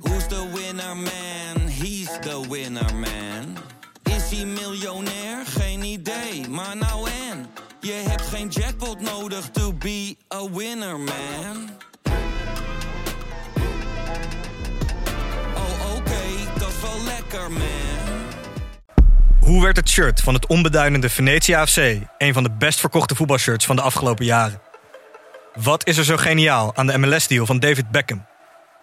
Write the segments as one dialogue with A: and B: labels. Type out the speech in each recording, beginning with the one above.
A: Who's the winner man? He's the winner man. Is hij miljonair? Geen idee, maar nou en. Je hebt geen jackpot nodig to be a winner man. Oh oké, dat is wel lekker man.
B: Hoe werd het shirt van het onbeduidende Venetia AFC een van de best verkochte voetbalshirts van de afgelopen jaren? Wat is er zo geniaal aan de MLS-deal van David Beckham?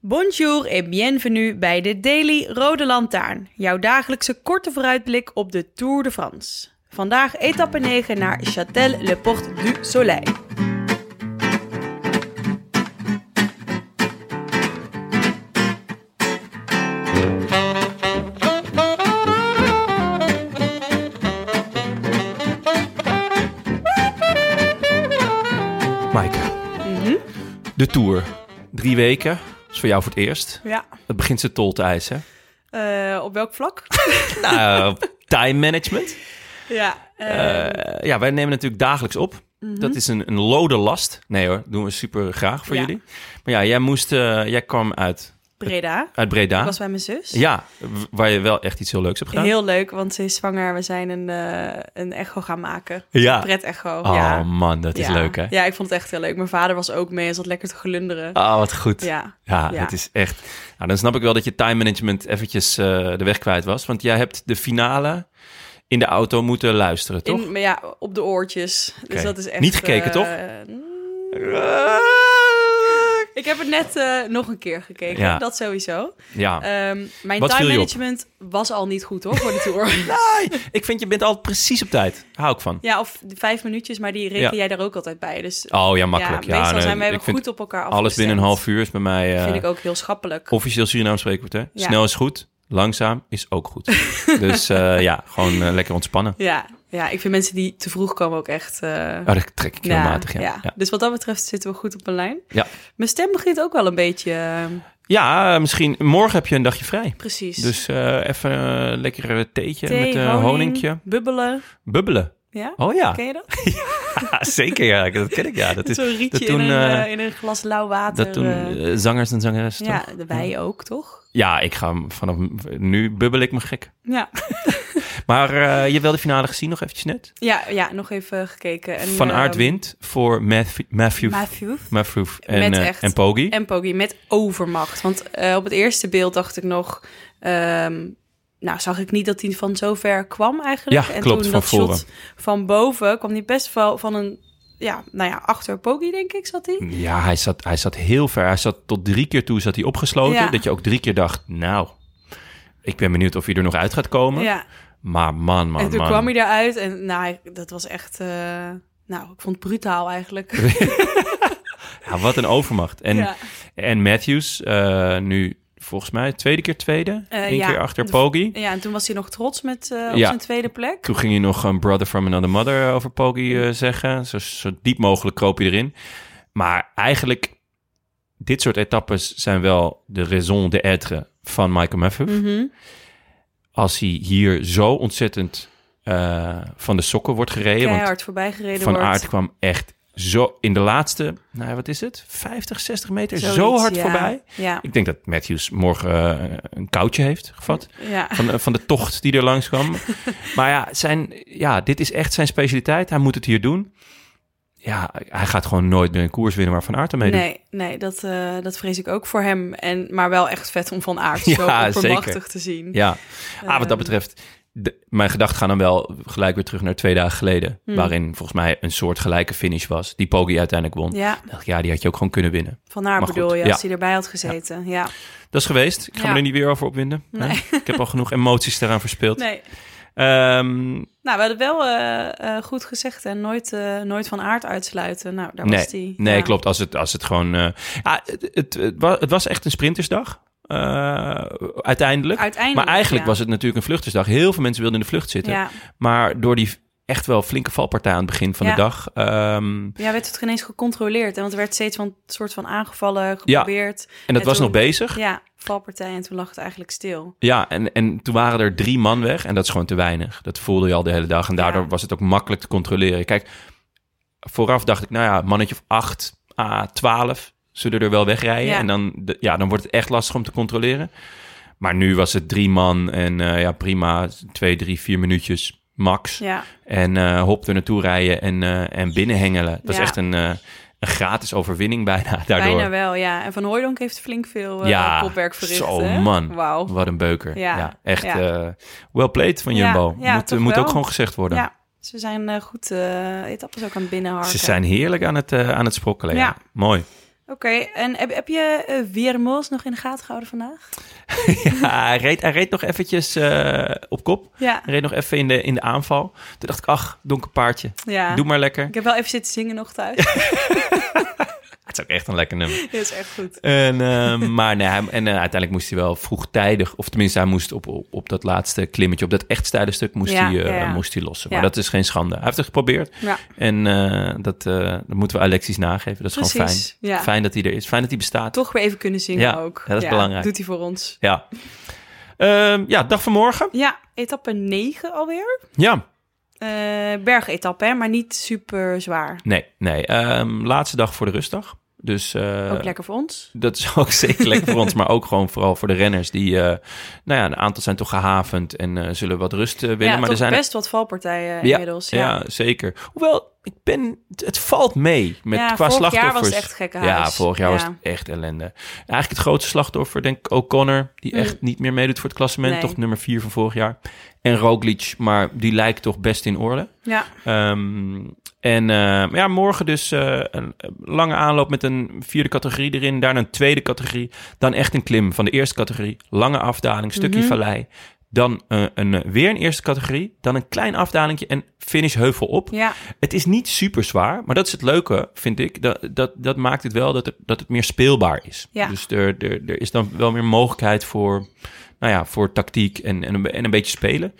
C: Bonjour et bienvenue bij de Daily Rode Lantaarn, jouw dagelijkse korte vooruitblik op de Tour de France. Vandaag etappe 9 naar Châtel-le-Porte du Soleil.
D: Maaike.
C: Mhm.
D: De Tour. Drie weken. Dat is voor jou voor het eerst.
C: Ja,
D: Het begint ze tol te eisen.
C: eh, op welk vlak?
D: Nou, time management.
C: ja, eh,
D: Eh, ja, wij nemen natuurlijk dagelijks op.
C: Mhm.
D: Dat is een, een lode last. Nee hoor, doen we super graag voor
C: Ja.
D: jullie. Maar ja, jij, moest, eh, jij kwam uit,
C: Breda.
D: uit Breda.
C: Ik was bij mijn zus.
D: Ja, w- waar je wel echt iets heel leuks hebt gedaan.
C: Heel leuk, want ze is zwanger. We zijn een, eh, een echo gaan maken.
D: ja.
C: Pret-echo.
D: Oh
C: ja.
D: man, dat is
C: Ja.
D: leuk hè.
C: Ja, ik vond het echt heel leuk. Mijn vader was ook mee en zat lekker te gelunderen.
D: Ah, wat goed.
C: Ja.
D: Ja,
C: Ja.
D: het is echt. Nou, dan snap ik wel dat je time management eventjes eh, de weg kwijt was. Want jij hebt de finale in de auto moeten luisteren, toch?
C: In, maar ja, op de oortjes. Dus
D: Oké.
C: dat is echt...
D: Niet gekeken,
C: eh,
D: toch?
C: Ik heb het net eh, nog een keer gekeken,
D: Ja.
C: dat sowieso.
D: Ja.
C: Ehm, mijn
D: Wat viel
C: time
D: je op?
C: management was al niet goed hoor, voor de tour.
D: Nee, ik vind je bent altijd precies op tijd. Hou ik van.
C: ja, of de vijf minuutjes, maar die reken
D: Ja.
C: jij daar ook altijd bij. Dus
D: Oh ja, makkelijk. Ja,
C: meestal
D: nee,
C: zijn wij
D: ik
C: wel
D: vind
C: goed op elkaar afgestemd.
D: Alles binnen een half uur is bij mij eh,
C: vind ik ook heel schappelijk.
D: officieel Surinaam spreekwoord. Hè?
C: Ja.
D: Snel is goed, langzaam is ook goed. dus eh, ja, gewoon eh, lekker ontspannen.
C: Ja, ja, ik vind mensen die te vroeg komen ook echt... eh,
D: Oh, dat trek ik heel
C: ja,
D: matig, ja. Ja.
C: Dus wat dat betreft zitten we goed op een lijn.
D: Ja.
C: Mijn stem begint ook wel een beetje... eh,
D: Ja, eh, misschien morgen heb je een dagje vrij.
C: precies.
D: Dus eh, even een lekker theetje
C: Thee,
D: met eh,
C: honing,
D: honingje.
C: Bubbelen.
D: Bubbelen.
C: Ja,
D: Oh ja,
C: ken je dat?
D: zeker. Ja, dat ken ik. Ja, dat is
C: Zo'n rietje
D: dat toen,
C: in, een,
D: eh,
C: eh, in een glas lauw water.
D: dat doen
C: eh,
D: eh, zangers en zangeressen.
C: ja,
D: toch?
C: de wij ook, toch?
D: ja, ik ga hem vanaf nu bubbel ik me gek.
C: Ja,
D: Maar eh, je hebt wel de finale gezien nog eventjes net.
C: ja, ja nog even gekeken. En,
D: Van Aert
C: ehm,
D: wint voor Matthew, Matthew,
C: Matthew.
D: Matthew en,
C: Met
D: eh,
C: echt.
D: en Poggi.
C: En Poggi met overmacht. Want eh, op het eerste beeld dacht ik nog... ehm, nou, zag ik niet dat hij van zo ver kwam eigenlijk.
D: Ja,
C: en
D: klopt,
C: toen
D: van
C: dat
D: voren.
C: shot van boven kwam hij best wel van een... Ja, nou ja, achter Poggi denk ik zat hij.
D: Ja, hij zat, hij zat heel ver. Hij zat tot drie keer toe zat hij opgesloten.
C: Ja.
D: Dat je ook drie keer dacht, nou, ik ben benieuwd of hij er nog uit gaat komen.
C: Ja,
D: Maar man, man,
C: en toen
D: man.
C: kwam hij daaruit en nou, hij- dat was echt... eh, nou, ik vond het brutaal eigenlijk.
D: Ja, wat een overmacht. En,
C: Ja.
D: en Matthews, eh, nu volgens mij tweede keer tweede.
C: Eh,
D: Eén
C: ja.
D: keer achter
C: De-
D: Poggi.
C: Ja, en toen was hij nog trots met, eh, op
D: Ja.
C: zijn tweede plek.
D: Toen ging hij nog een brother from another mother over Poggi eh, zeggen. Zo, zo diep mogelijk kroop hij erin. Maar eigenlijk, dit soort etappes zijn wel de raison d'être van Michael Matthews.
C: Mm. Mhm.
D: Als hij hier zo ontzettend eh, van de sokken wordt gereden. want
C: Keihard voorbij gereden
D: Van
C: wordt.
D: Aert kwam echt zo in de laatste, nou, ja, wat is het? 50, 60 meter
C: Zoiets,
D: zo hard
C: ja.
D: voorbij.
C: Ja,
D: Ik denk dat Matthews morgen eh, een koutje heeft gevat.
C: ja.
D: Van, de- van de tocht die er langs kwam. maar ja, zijn, ja, dit is echt zijn specialiteit. Hij moet het hier doen. Ja, hij gaat gewoon nooit meer een koers winnen waar Van Aert aan meedoet.
C: Nee, nee dat, eh, dat vrees ik ook voor hem. En, maar wel echt vet om Van Aert zo
D: Ja,
C: oppermachtig
D: zeker.
C: te zien.
D: Ja, ah, wat
C: Ehm.
D: dat betreft. de- mijn gedachten gaan dan wel gelijk weer terug naar twee dagen geleden.
C: Hmm.
D: Waarin volgens mij een soort gelijke finish was. Die Poggi uiteindelijk won.
C: Ja,
D: Dacht ik, Ja, die had je ook gewoon kunnen winnen.
C: Van Aert
D: Maar
C: bedoel
D: goed,
C: je,
D: ja.
C: als hij erbij had gezeten. Ja.
D: Dat is geweest. Ik ga
C: Ja.
D: me er niet weer over opwinden. hè? Ik heb al genoeg emoties daaraan verspild.
C: Nee.
D: Ehm,
C: Nou, we hadden wel eh, eh, goed gezegd en nooit, eh, nooit Van Aert uitsluiten. Nou, daar
D: nee,
C: was hij.
D: nee
C: Ja.
D: klopt. Als het, als het gewoon. eh, ah, het, het, het wa- het was echt een sprintersdag. eh, uiteindelijk.
C: Uiteindelijk.
D: Maar eigenlijk
C: ja.
D: was het natuurlijk een vluchtersdag. Heel veel mensen wilden in de vlucht zitten.
C: Ja,
D: Maar door die echt wel flinke valpartij aan het begin van
C: Ja.
D: de dag... ehm,
C: ja werd het ineens gecontroleerd. En want er werd steeds van soort van aangevallen, geprobeerd. Ja,
D: en dat
C: En
D: was
C: toen-
D: nog bezig. Ja,
C: valpartij. En toen lag het eigenlijk stil.
D: en, en toen waren er drie man weg. En dat is gewoon te weinig. Dat voelde je al de hele dag. En daardoor
C: Ja.
D: was het ook makkelijk te controleren. Kijk, vooraf dacht ik, nou ja, mannetje of acht, a twaalf... zullen er wel wegrijden.
C: Ja.
D: En dan, de- ja, dan wordt het echt lastig om te controleren. Maar nu was het drie man en eh, ja, prima. Twee, drie, vier minuutjes max.
C: Ja,
D: En eh, hop er naartoe rijden en, eh en binnenhengelen. Dat
C: Ja.
D: is echt een, eh, een gratis overwinning bijna daardoor.
C: bijna wel, ja. En Van Hooydonk heeft flink veel eh
D: Ja,
C: kopwerk verricht.
D: zo,
C: hè?
D: man.
C: Wauw.
D: Wat een beuker.
C: Ja.
D: Ja, echt
C: Ja.
D: eh, well played van Jumbo.
C: Ja, ja,
D: moet
C: toch
D: moet
C: wel.
D: ook gewoon gezegd worden.
C: Ja, ze zijn eh, goed eh, etappes ook aan het binnenharken.
D: Ze zijn heerlijk aan het, eh, aan het sprokkelen. Ja.
C: Ja.
D: Mooi.
C: Oké, en heb, heb je eh Wiermols nog in de gaten gehouden vandaag?
D: ja, hij, reed, hij reed nog eventjes eh, op kop.
C: Ja,
D: Hij reed nog even in de, in de aanval. Toen dacht ik, ach, donker paardje.
C: ja.
D: Doe maar lekker.
C: Ik heb wel even zitten zingen nog thuis.
D: Het is ook echt een lekker nummer.
C: Dit is echt goed.
D: En, eh, maar nee, hij- en eh, uiteindelijk moest hij wel vroegtijdig, of tenminste, hij moest op, op, op dat laatste klimmetje, op dat echt steile stuk, moest,
C: Ja,
D: hij, eh,
C: ja, ja.
D: moest hij lossen.
C: Ja.
D: Maar dat is geen schande. Hij heeft het geprobeerd.
C: Ja,
D: En eh, dat, eh, dat moeten we Alexis nageven. Dat is gewoon fijn.
C: precies. Ja.
D: Fijn dat hij er is. Fijn dat hij bestaat.
C: Toch weer even kunnen zingen
D: Ja,
C: ook.
D: dat is belangrijk.
C: Doet hij voor ons.
D: Ja. Ehm, ja, dag van morgen.
C: Ja, etappe 9 alweer.
D: Ja.
C: Eh bergetappe, hè, maar niet super zwaar.
D: Nee, nee. Ehm, laatste dag voor de rustdag. Dus eh,
C: ook lekker voor ons.
D: Dat is ook zeker lekker voor ons, maar ook gewoon vooral voor de renners. Die, eh, nou ja, een aantal zijn toch gehavend en eh, zullen wat rust eh, willen.
C: Ja,
D: maar
C: toch
D: er zijn
C: best wat valpartijen eh,
D: Ja,
C: inmiddels. Ja,
D: Ja, zeker. Hoewel, ik ben, het- het valt mee met,
C: Ja, vorig
D: qua
C: jaar was
D: slachtoffers.
C: het echt gekkenhuis.
D: Ja, vorig jaar
C: Ja.
D: was het echt ellende. Eigenlijk het grootste slachtoffer, denk ik, O'Connor. Die echt niet meer meedoet voor het klassement.
C: Mm. Nee.
D: Toch nummer vier van vorig jaar. En Roglic, maar die lijkt toch best in orde.
C: ja.
D: Ehm, en eh, maar ja, morgen dus eh, een lange aanloop met een vierde categorie erin. Daarna een tweede categorie. Dan echt een klim van de eerste categorie. Lange afdaling, stukje
C: Mhm.
D: vallei. Dan eh, een, eh, weer een eerste categorie. Dan een klein afdalingje en finish heuvel op.
C: ja.
D: Het is niet super zwaar, maar dat is het leuke, vind ik. Dat, dat, dat maakt het wel dat het, dat het meer speelbaar is.
C: Ja.
D: Dus er, er, er is dan wel meer mogelijkheid voor, nou ja, voor tactiek en, en, een, en een beetje spelen.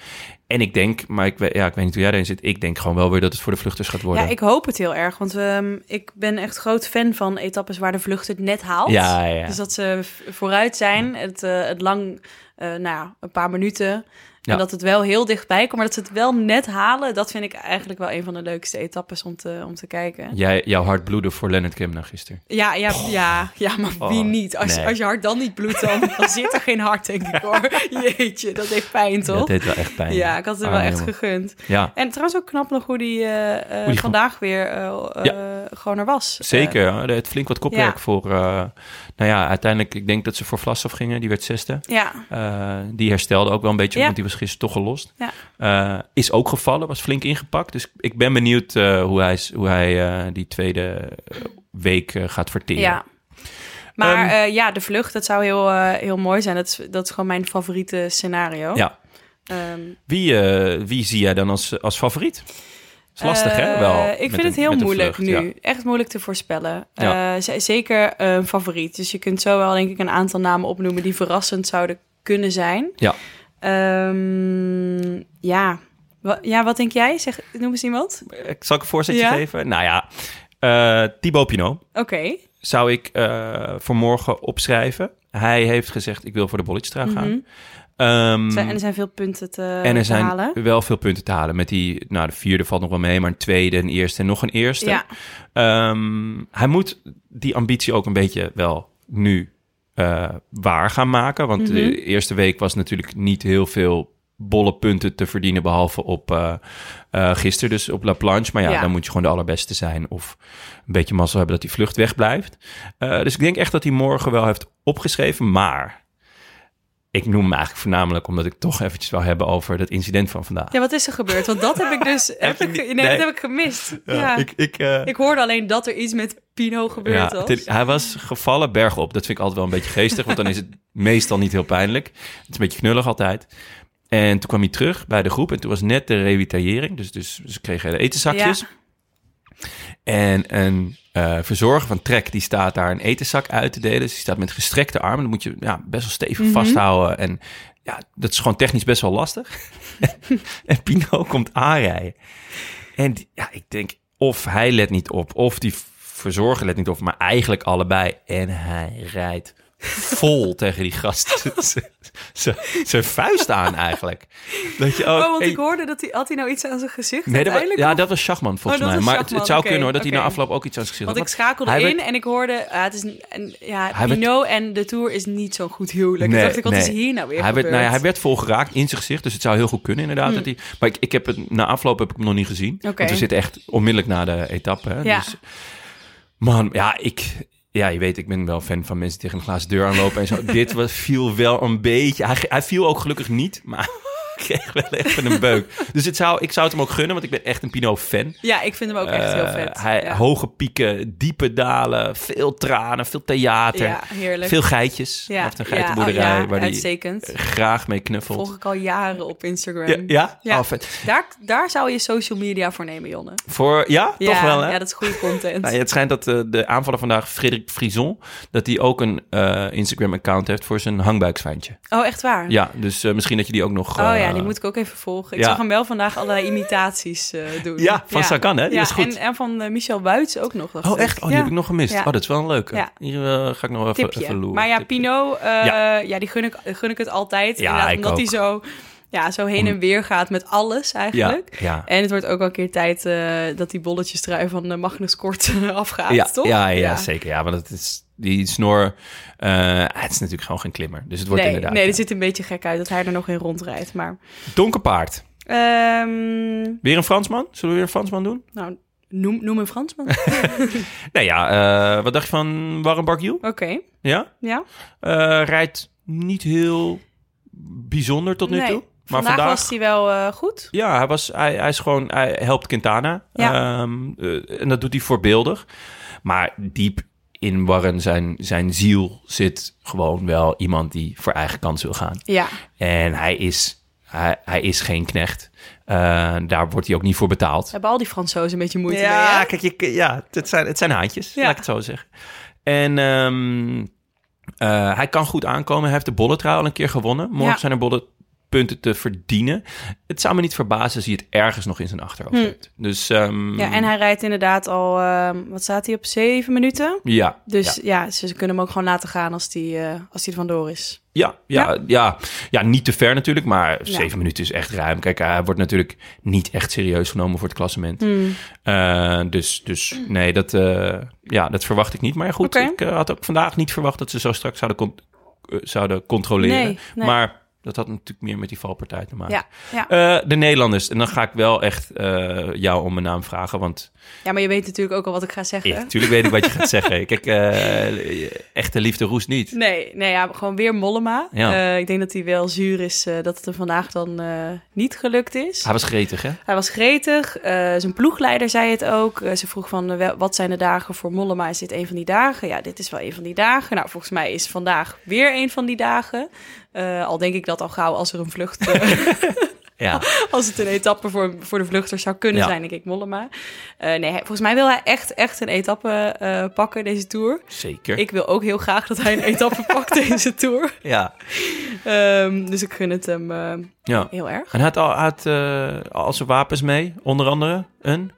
D: En ik denk, maar ik, weet- ja, ik weet niet hoe jij daarin zit, ik denk gewoon wel weer dat het voor de vluchters gaat worden.
C: Ja, ik hoop het heel erg. Want ehm, ik ben echt groot fan van etappes waar de vlucht het net haalt.
D: Ja, ja, ja.
C: Dus dat ze v- vooruit zijn, het, eh, het lang, eh, nou ja, een paar minuten. En
D: Ja.
C: dat het wel heel dichtbij komt, maar dat ze het wel net halen. Dat vind ik eigenlijk wel een van de leukste etappes om te, om te kijken.
D: Jij, jouw hart bloedde voor Leonard Kemna gisteren.
C: Ja, ja, ja, ja maar wie
D: Oh,
C: niet? Als,
D: nee.
C: als je hart dan niet bloedt, dan, dan zit er geen hart, denk ik hoor. Jeetje, dat deed pijn,
D: Dat
C: toch?
D: deed wel echt pijn.
C: ja, ik Eh, had het
D: Ah,
C: wel echt
D: jongen.
C: gegund.
D: Ja,
C: En trouwens ook knap nog hoe die, eh, eh,
D: die
C: vandaag weer eh, eh, gewoon er was.
D: zeker. hè. Er had flink wat kopwerk
C: ja.
D: voor, eh, nou ja, uiteindelijk, ik denk dat ze voor Vlasov gingen, die werd zesde.
C: Eh, ja,
D: Eh, die herstelde ook wel een beetje,
C: Ja.
D: want die was gisteren toch gelost.
C: Ja.
D: Eh, is ook gevallen, was flink ingepakt. Dus ik ben benieuwd eh, hoe hij, is- hoe hij eh, die tweede eh, week eh, gaat verteren.
C: Ja. Maar
D: Ehm,
C: eh, ja, de vlucht, dat zou heel, eh, heel mooi zijn. Dat is, dat is gewoon mijn favoriete scenario.
D: Ja.
C: Ehm,
D: Wie, eh, wie zie jij dan als, als favoriet? Is lastig, hè?
C: eh,
D: Wel,
C: ik
D: met
C: vind het
D: een-
C: heel
D: met een
C: moeilijk
D: vlucht,
C: nu.
D: ja.
C: Echt moeilijk te voorspellen.
D: Ja.
C: Eh, z- zeker eh, een favoriet. Dus je kunt zo wel, denk ik, een aantal namen opnoemen die verrassend zouden kunnen zijn.
D: Ja.
C: Ehm, ja. Wa- ja, wat denk jij? Zeg, noem eens iemand.
D: Ik Eh, zal ik een voorzetje
C: Ja?
D: geven? Nou ja, eh Thibaut Pinot
C: Oké.
D: zou ik eh, voor morgen opschrijven. Hij heeft gezegd, ik wil voor de bolletstrui
C: Mhm.
D: gaan. Ehm,
C: Zijn- En er zijn veel punten te,
D: En er
C: eh, te
D: zijn
C: halen.
D: wel veel punten te halen. Met die, nou, de vierde valt nog wel mee, maar een tweede, een eerste en nog een eerste.
C: Ja,
D: Ehm, hij moet die ambitie ook een beetje wel nu eh, waar gaan maken. Want
C: Mhm.
D: de eerste week was natuurlijk niet heel veel bolle punten te verdienen, behalve op eh, eh, gisteren, dus op La Planche. Maar ja,
C: Ja.
D: dan moet je gewoon de allerbeste zijn of een beetje mazzel hebben dat die vlucht wegblijft. Eh, dus ik denk echt dat hij morgen wel heeft opgeschreven, maar... Ik noem hem eigenlijk voornamelijk omdat ik toch eventjes wil hebben over dat incident van vandaag.
C: ja, wat is er gebeurd? Want dat heb ik dus heb
D: je
C: ik,
D: niet-
C: nee,
D: nee.
C: Dat heb ik gemist. Ja,
D: ik, ik, eh,
C: Ik hoorde alleen dat er iets met Pino gebeurd
D: Ja,
C: was.
D: het- hij was gevallen bergop. Dat vind ik altijd wel een beetje geestig, want dan is het meestal niet heel pijnlijk. Het is een beetje knullig altijd. En toen kwam hij terug bij de groep en toen was net de revitaillering. Dus, dus ze kregen de etenzakjes.
C: Ja.
D: En een eh, eh, verzorger van Trek, die staat daar een etenzak uit te delen. Dus die staat met gestrekte armen. Dan moet je ja, best wel stevig
C: Mhm.
D: vasthouden. En ja, dat is gewoon technisch best wel lastig. en Pino komt aanrijden. En die- ja, ik denk, of hij let niet op, of die verzorger let niet op, maar eigenlijk allebei. En hij rijdt vol tegen die gast z- z- zijn vuist aan eigenlijk. Dat je,
C: Oh, want
D: hey,
C: ik hoorde dat hij... Had hij nou iets aan zijn gezicht
D: Nee, dat, wa-
C: uiteindelijk?
D: ja, dat was Schachman volgens
C: Oh, dat
D: mij.
C: was
D: Maar het, het
C: Schachman,
D: zou
C: oké,
D: kunnen hoor, dat hij
C: oké.
D: na afloop ook iets aan zich
C: Want ik
D: had.
C: schakelde
D: Hij
C: in
D: werd-
C: en ik hoorde... ah, het is, een- en, ja,
D: Hij werd-
C: Pino en de Tour is niet zo'n goed huwelijk.
D: Nee,
C: ik dacht ik, wat is
D: nee.
C: hier nou weer
D: hij werd,
C: gebeurd? Hm.
D: nou ja, hij werd volgeraakt in zijn gezicht, dus het zou heel goed kunnen inderdaad. Dat hij, maar ik, ik heb het, na afloop heb ik hem nog niet gezien. Want we zitten echt onmiddellijk na de etappe. Hè,
C: Ja.
D: dus, man, ja, ik... Ja, je weet, ik ben wel fan van mensen die tegen een glazen deur aanlopen en zo. Dit was, viel wel een beetje... Hij, hij viel ook gelukkig niet, maar ik kreeg wel even een beuk. Dus het zou, ik zou het hem ook gunnen, want ik ben echt een Pinot-fan.
C: Ja, ik vind hem ook echt heel
D: Eh,
C: vet.
D: Hij,
C: ja.
D: Hoge pieken, diepe dalen, veel tranen, veel theater.
C: Ja, heerlijk.
D: Veel geitjes. Hij
C: ja,
D: heeft een
C: ja,
D: geitenboerderij
C: oh ja,
D: waar hij
C: uitstekend.
D: graag mee knuffelt.
C: Volg ik al jaren op Instagram.
D: Ja? ja?
C: Ja.
D: Oh, vet.
C: Daar, daar zou je social media voor nemen, Jonne.
D: Voor, ja? toch
C: ja,
D: wel, hè?
C: Ja, dat is goede content.
D: Nou, ja, het schijnt dat eh, de aanvaller vandaag, Frederik Frison, dat hij ook een eh, Instagram-account heeft voor zijn hangbuikzwijntje.
C: Oh, echt waar?
D: Ja, dus eh, misschien dat je die ook nog...
C: Oh
D: eh,
C: ja, die moet ik ook even volgen. Ik
D: ja.
C: zag hem wel vandaag allerlei imitaties eh, doen.
D: Ja, van Sagan, hè? Die
C: ja,
D: was goed.
C: En, en van eh, Michel Buits ook nog. dacht
D: Oh,
C: ik.
D: echt? Oh, die
C: Ja.
D: heb ik nog gemist.
C: Ja.
D: Oh, dat is wel een leuke.
C: Ja.
D: Hier eh, ga ik nog even,
C: tipje.
D: even loeren.
C: maar ja,
D: Tipje.
C: Pino, eh, ja.
D: Ja.
C: die gun ik, gun ik het altijd.
D: Ja,
C: Inderdaad,
D: ik
C: omdat
D: ook.
C: hij zo, ja, zo heen en weer gaat met alles
D: Ja,
C: eigenlijk.
D: ja.
C: En het wordt ook al een keer tijd eh, dat die bolletjes trui van eh, Magnus Kort afgaat,
D: ja,
C: toch?
D: Ja, ja, zeker. Ja, want het is, die snor, eh, het is natuurlijk gewoon geen klimmer. Dus het wordt
C: Nee,
D: inderdaad
C: nee,
D: ja.
C: dit ziet een beetje gek uit dat hij er nog in rondrijdt. Maar
D: donker paard.
C: ehm,
D: Weer een Fransman? Zullen we weer een Fransman doen?
C: nou, noem, noem een Fransman.
D: Nou ja, eh, wat dacht je van Warren Barguil?
C: Oké,
D: Ja?
C: ja.
D: Eh, rijdt niet heel bijzonder tot nu
C: Nee,
D: toe. Maar
C: vandaag, was hij wel eh, goed.
D: Ja, hij, was, hij, hij is gewoon, hij helpt Quintana.
C: Ja.
D: Ehm, eh, en dat doet hij voorbeeldig. Maar diep in Warren, zijn, zijn ziel, zit gewoon wel iemand die voor eigen kans wil gaan.
C: Ja,
D: En hij is, hij, hij is geen knecht. Eh, daar wordt hij ook niet voor betaald.
C: hebben al die Fransozen een beetje moeite mee,
D: Ja,
C: hè?
D: kijk, je, ja het, zijn, het zijn haantjes,
C: Ja.
D: laat ik het zo zeggen. En ehm, eh, hij kan goed aankomen. Hij heeft de bolletrui al een keer gewonnen. Morgen
C: Ja.
D: zijn er bolletpunten te verdienen. Het zou me niet verbazen als hij het ergens nog in zijn achterhoofd
C: Hm.
D: heeft. Dus ehm,
C: Ja, en hij rijdt inderdaad al, ehm, wat staat hij op, zeven minuten?
D: ja,
C: Dus
D: ja,
C: ja, ze, ze kunnen hem ook gewoon laten gaan als die, eh, als die er vandoor is.
D: ja, ja, ja, Ja, niet te ver natuurlijk, maar
C: Ja.
D: zeven minuten is echt ruim. Kijk, hij wordt natuurlijk niet echt serieus genomen voor het klassement.
C: Hmm.
D: Eh, dus, dus nee, dat, eh, ja, dat verwacht ik niet. Maar ja, goed,
C: Oké.
D: ik eh, had ook vandaag niet verwacht dat ze zo straks zouden, con- eh, zouden controleren.
C: Nee, nee.
D: Maar dat had natuurlijk meer met die valpartij te maken.
C: Ja, ja.
D: Eh, de Nederlanders. En dan ga ik wel echt eh, jou om mijn naam vragen. Want
C: ja, maar je weet natuurlijk ook al wat ik ga zeggen.
D: ja, natuurlijk weet ik wat je gaat zeggen. Kijk, eh, echte liefde roest niet.
C: Nee, nee ja, gewoon weer Mollema.
D: Ja.
C: Eh, ik denk dat hij wel zuur is eh, dat het hem vandaag dan eh, niet gelukt is.
D: Hij was gretig, hè?
C: Hij was gretig. eh, zijn ploegleider zei het ook. Eh, ze vroeg van, eh, wel- wat zijn de dagen voor Mollema? Is dit een van die dagen? Ja, dit is wel een van die dagen. Nou, volgens mij is vandaag weer een van die dagen. Eh, al denk ik dat al gauw als er een vlucht... eh,
D: Ja.
C: als het een etappe voor, voor de vluchters zou kunnen
D: Ja.
C: zijn, denk ik, Mollema. Eh, nee, hij- volgens mij wil hij echt, echt een etappe eh, pakken deze Tour.
D: Zeker.
C: Ik wil ook heel graag dat hij een etappe pakt deze Tour.
D: Ja.
C: Ehm, dus ik gun het hem eh,
D: ja.
C: heel erg.
D: En hij had al, hij had, eh, al zijn wapens mee. Onder andere een...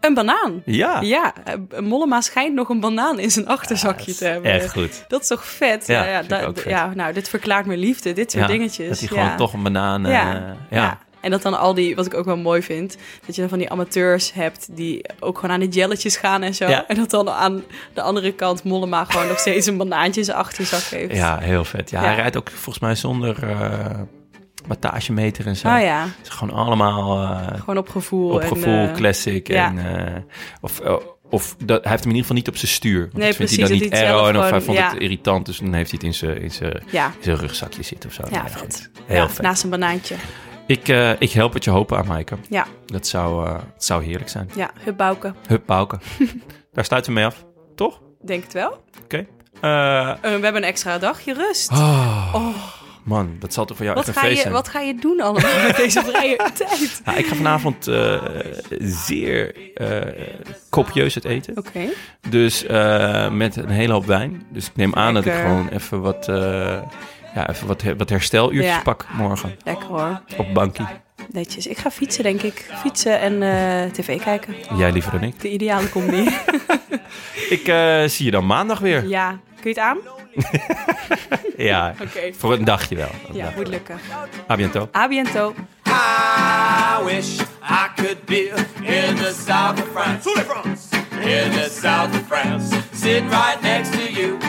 C: Een banaan.
D: Ja.
C: Ja, eh, Mollema schijnt nog een banaan in zijn achterzakje te hebben.
D: Echt goed.
C: Dat is toch vet?
D: Ja,
C: Nou ja,
D: vind ik
C: da-
D: ook vet.
C: ja, nou, dit verklaart mijn liefde, dit soort
D: Ja,
C: dingetjes.
D: Dat hij
C: Ja.
D: gewoon toch een banaan... eh,
C: Ja.
D: ja.
C: Ja. En dat dan al die, wat ik ook wel mooi vind, dat je dan van die amateurs hebt die ook gewoon aan de jelletjes gaan en zo.
D: Ja.
C: En dat dan aan de andere kant Mollema gewoon nog steeds een banaantje in zijn achterzak heeft.
D: Ja, heel vet. Ja,
C: Ja.
D: hij rijdt ook volgens mij zonder eh wattagemeter en zo.
C: Oh ja,
D: Het is gewoon allemaal eh,
C: gewoon op gevoel.
D: op
C: en,
D: gevoel,
C: eh,
D: classic.
C: ja.
D: En, eh, of eh, of dat, hij heeft hem in ieder geval niet op zijn stuur. Want
C: Nee,
D: dat vindt
C: precies,
D: hij dan
C: dat
D: niet
C: hij het zelf
D: aero en of hij
C: gewoon-
D: vond
C: ja.
D: het irritant. Dus dan heeft hij het in zijn, in zijn,
C: ja,
D: in zijn rugzakje zitten of zo.
C: ja,
D: Nou ja,
C: vet.
D: goed. Heel
C: Ja,
D: vet.
C: Naast een banaantje.
D: Ik, eh, ik help het je hopen aan, Maaike.
C: Ja,
D: Dat zou, eh, het zou heerlijk zijn.
C: ja, het bouken.
D: Hup, pauken. Daar stuiten we mee af. Toch?
C: Denk het wel.
D: Oké. Eh,
C: Eh, we hebben een extra dagje rust.
D: oh, Man, dat zal toch voor jou
C: Wat
D: echt een
C: ga, je,
D: feest zijn?
C: wat ga je doen allemaal met deze vrije tijd?
D: Ja, ik ga vanavond eh, zeer eh, kopieus het eten.
C: Oké.
D: Dus eh, met een hele hoop wijn. Dus ik neem aan dat ik
C: Lekker.
D: gewoon even wat, eh, ja, even wat, he- wat hersteluurtjes
C: Ja.
D: pak morgen
C: Lekker hoor.
D: op bankie.
C: Netjes. Ik ga fietsen, denk ik. Fietsen en eh, tv kijken.
D: Jij liever dan ik.
C: De ideale combi.
D: Ik eh, zie je dan maandag weer.
C: ja. Kun je het aan? Oké.
D: Ja, voor een dagje wel. Een
C: Ja,
D: dagje.
C: moet lukken.
D: A bientôt.
C: A biento.
A: I wish I could be in the south of France. In the south of France. Sitting right next to you.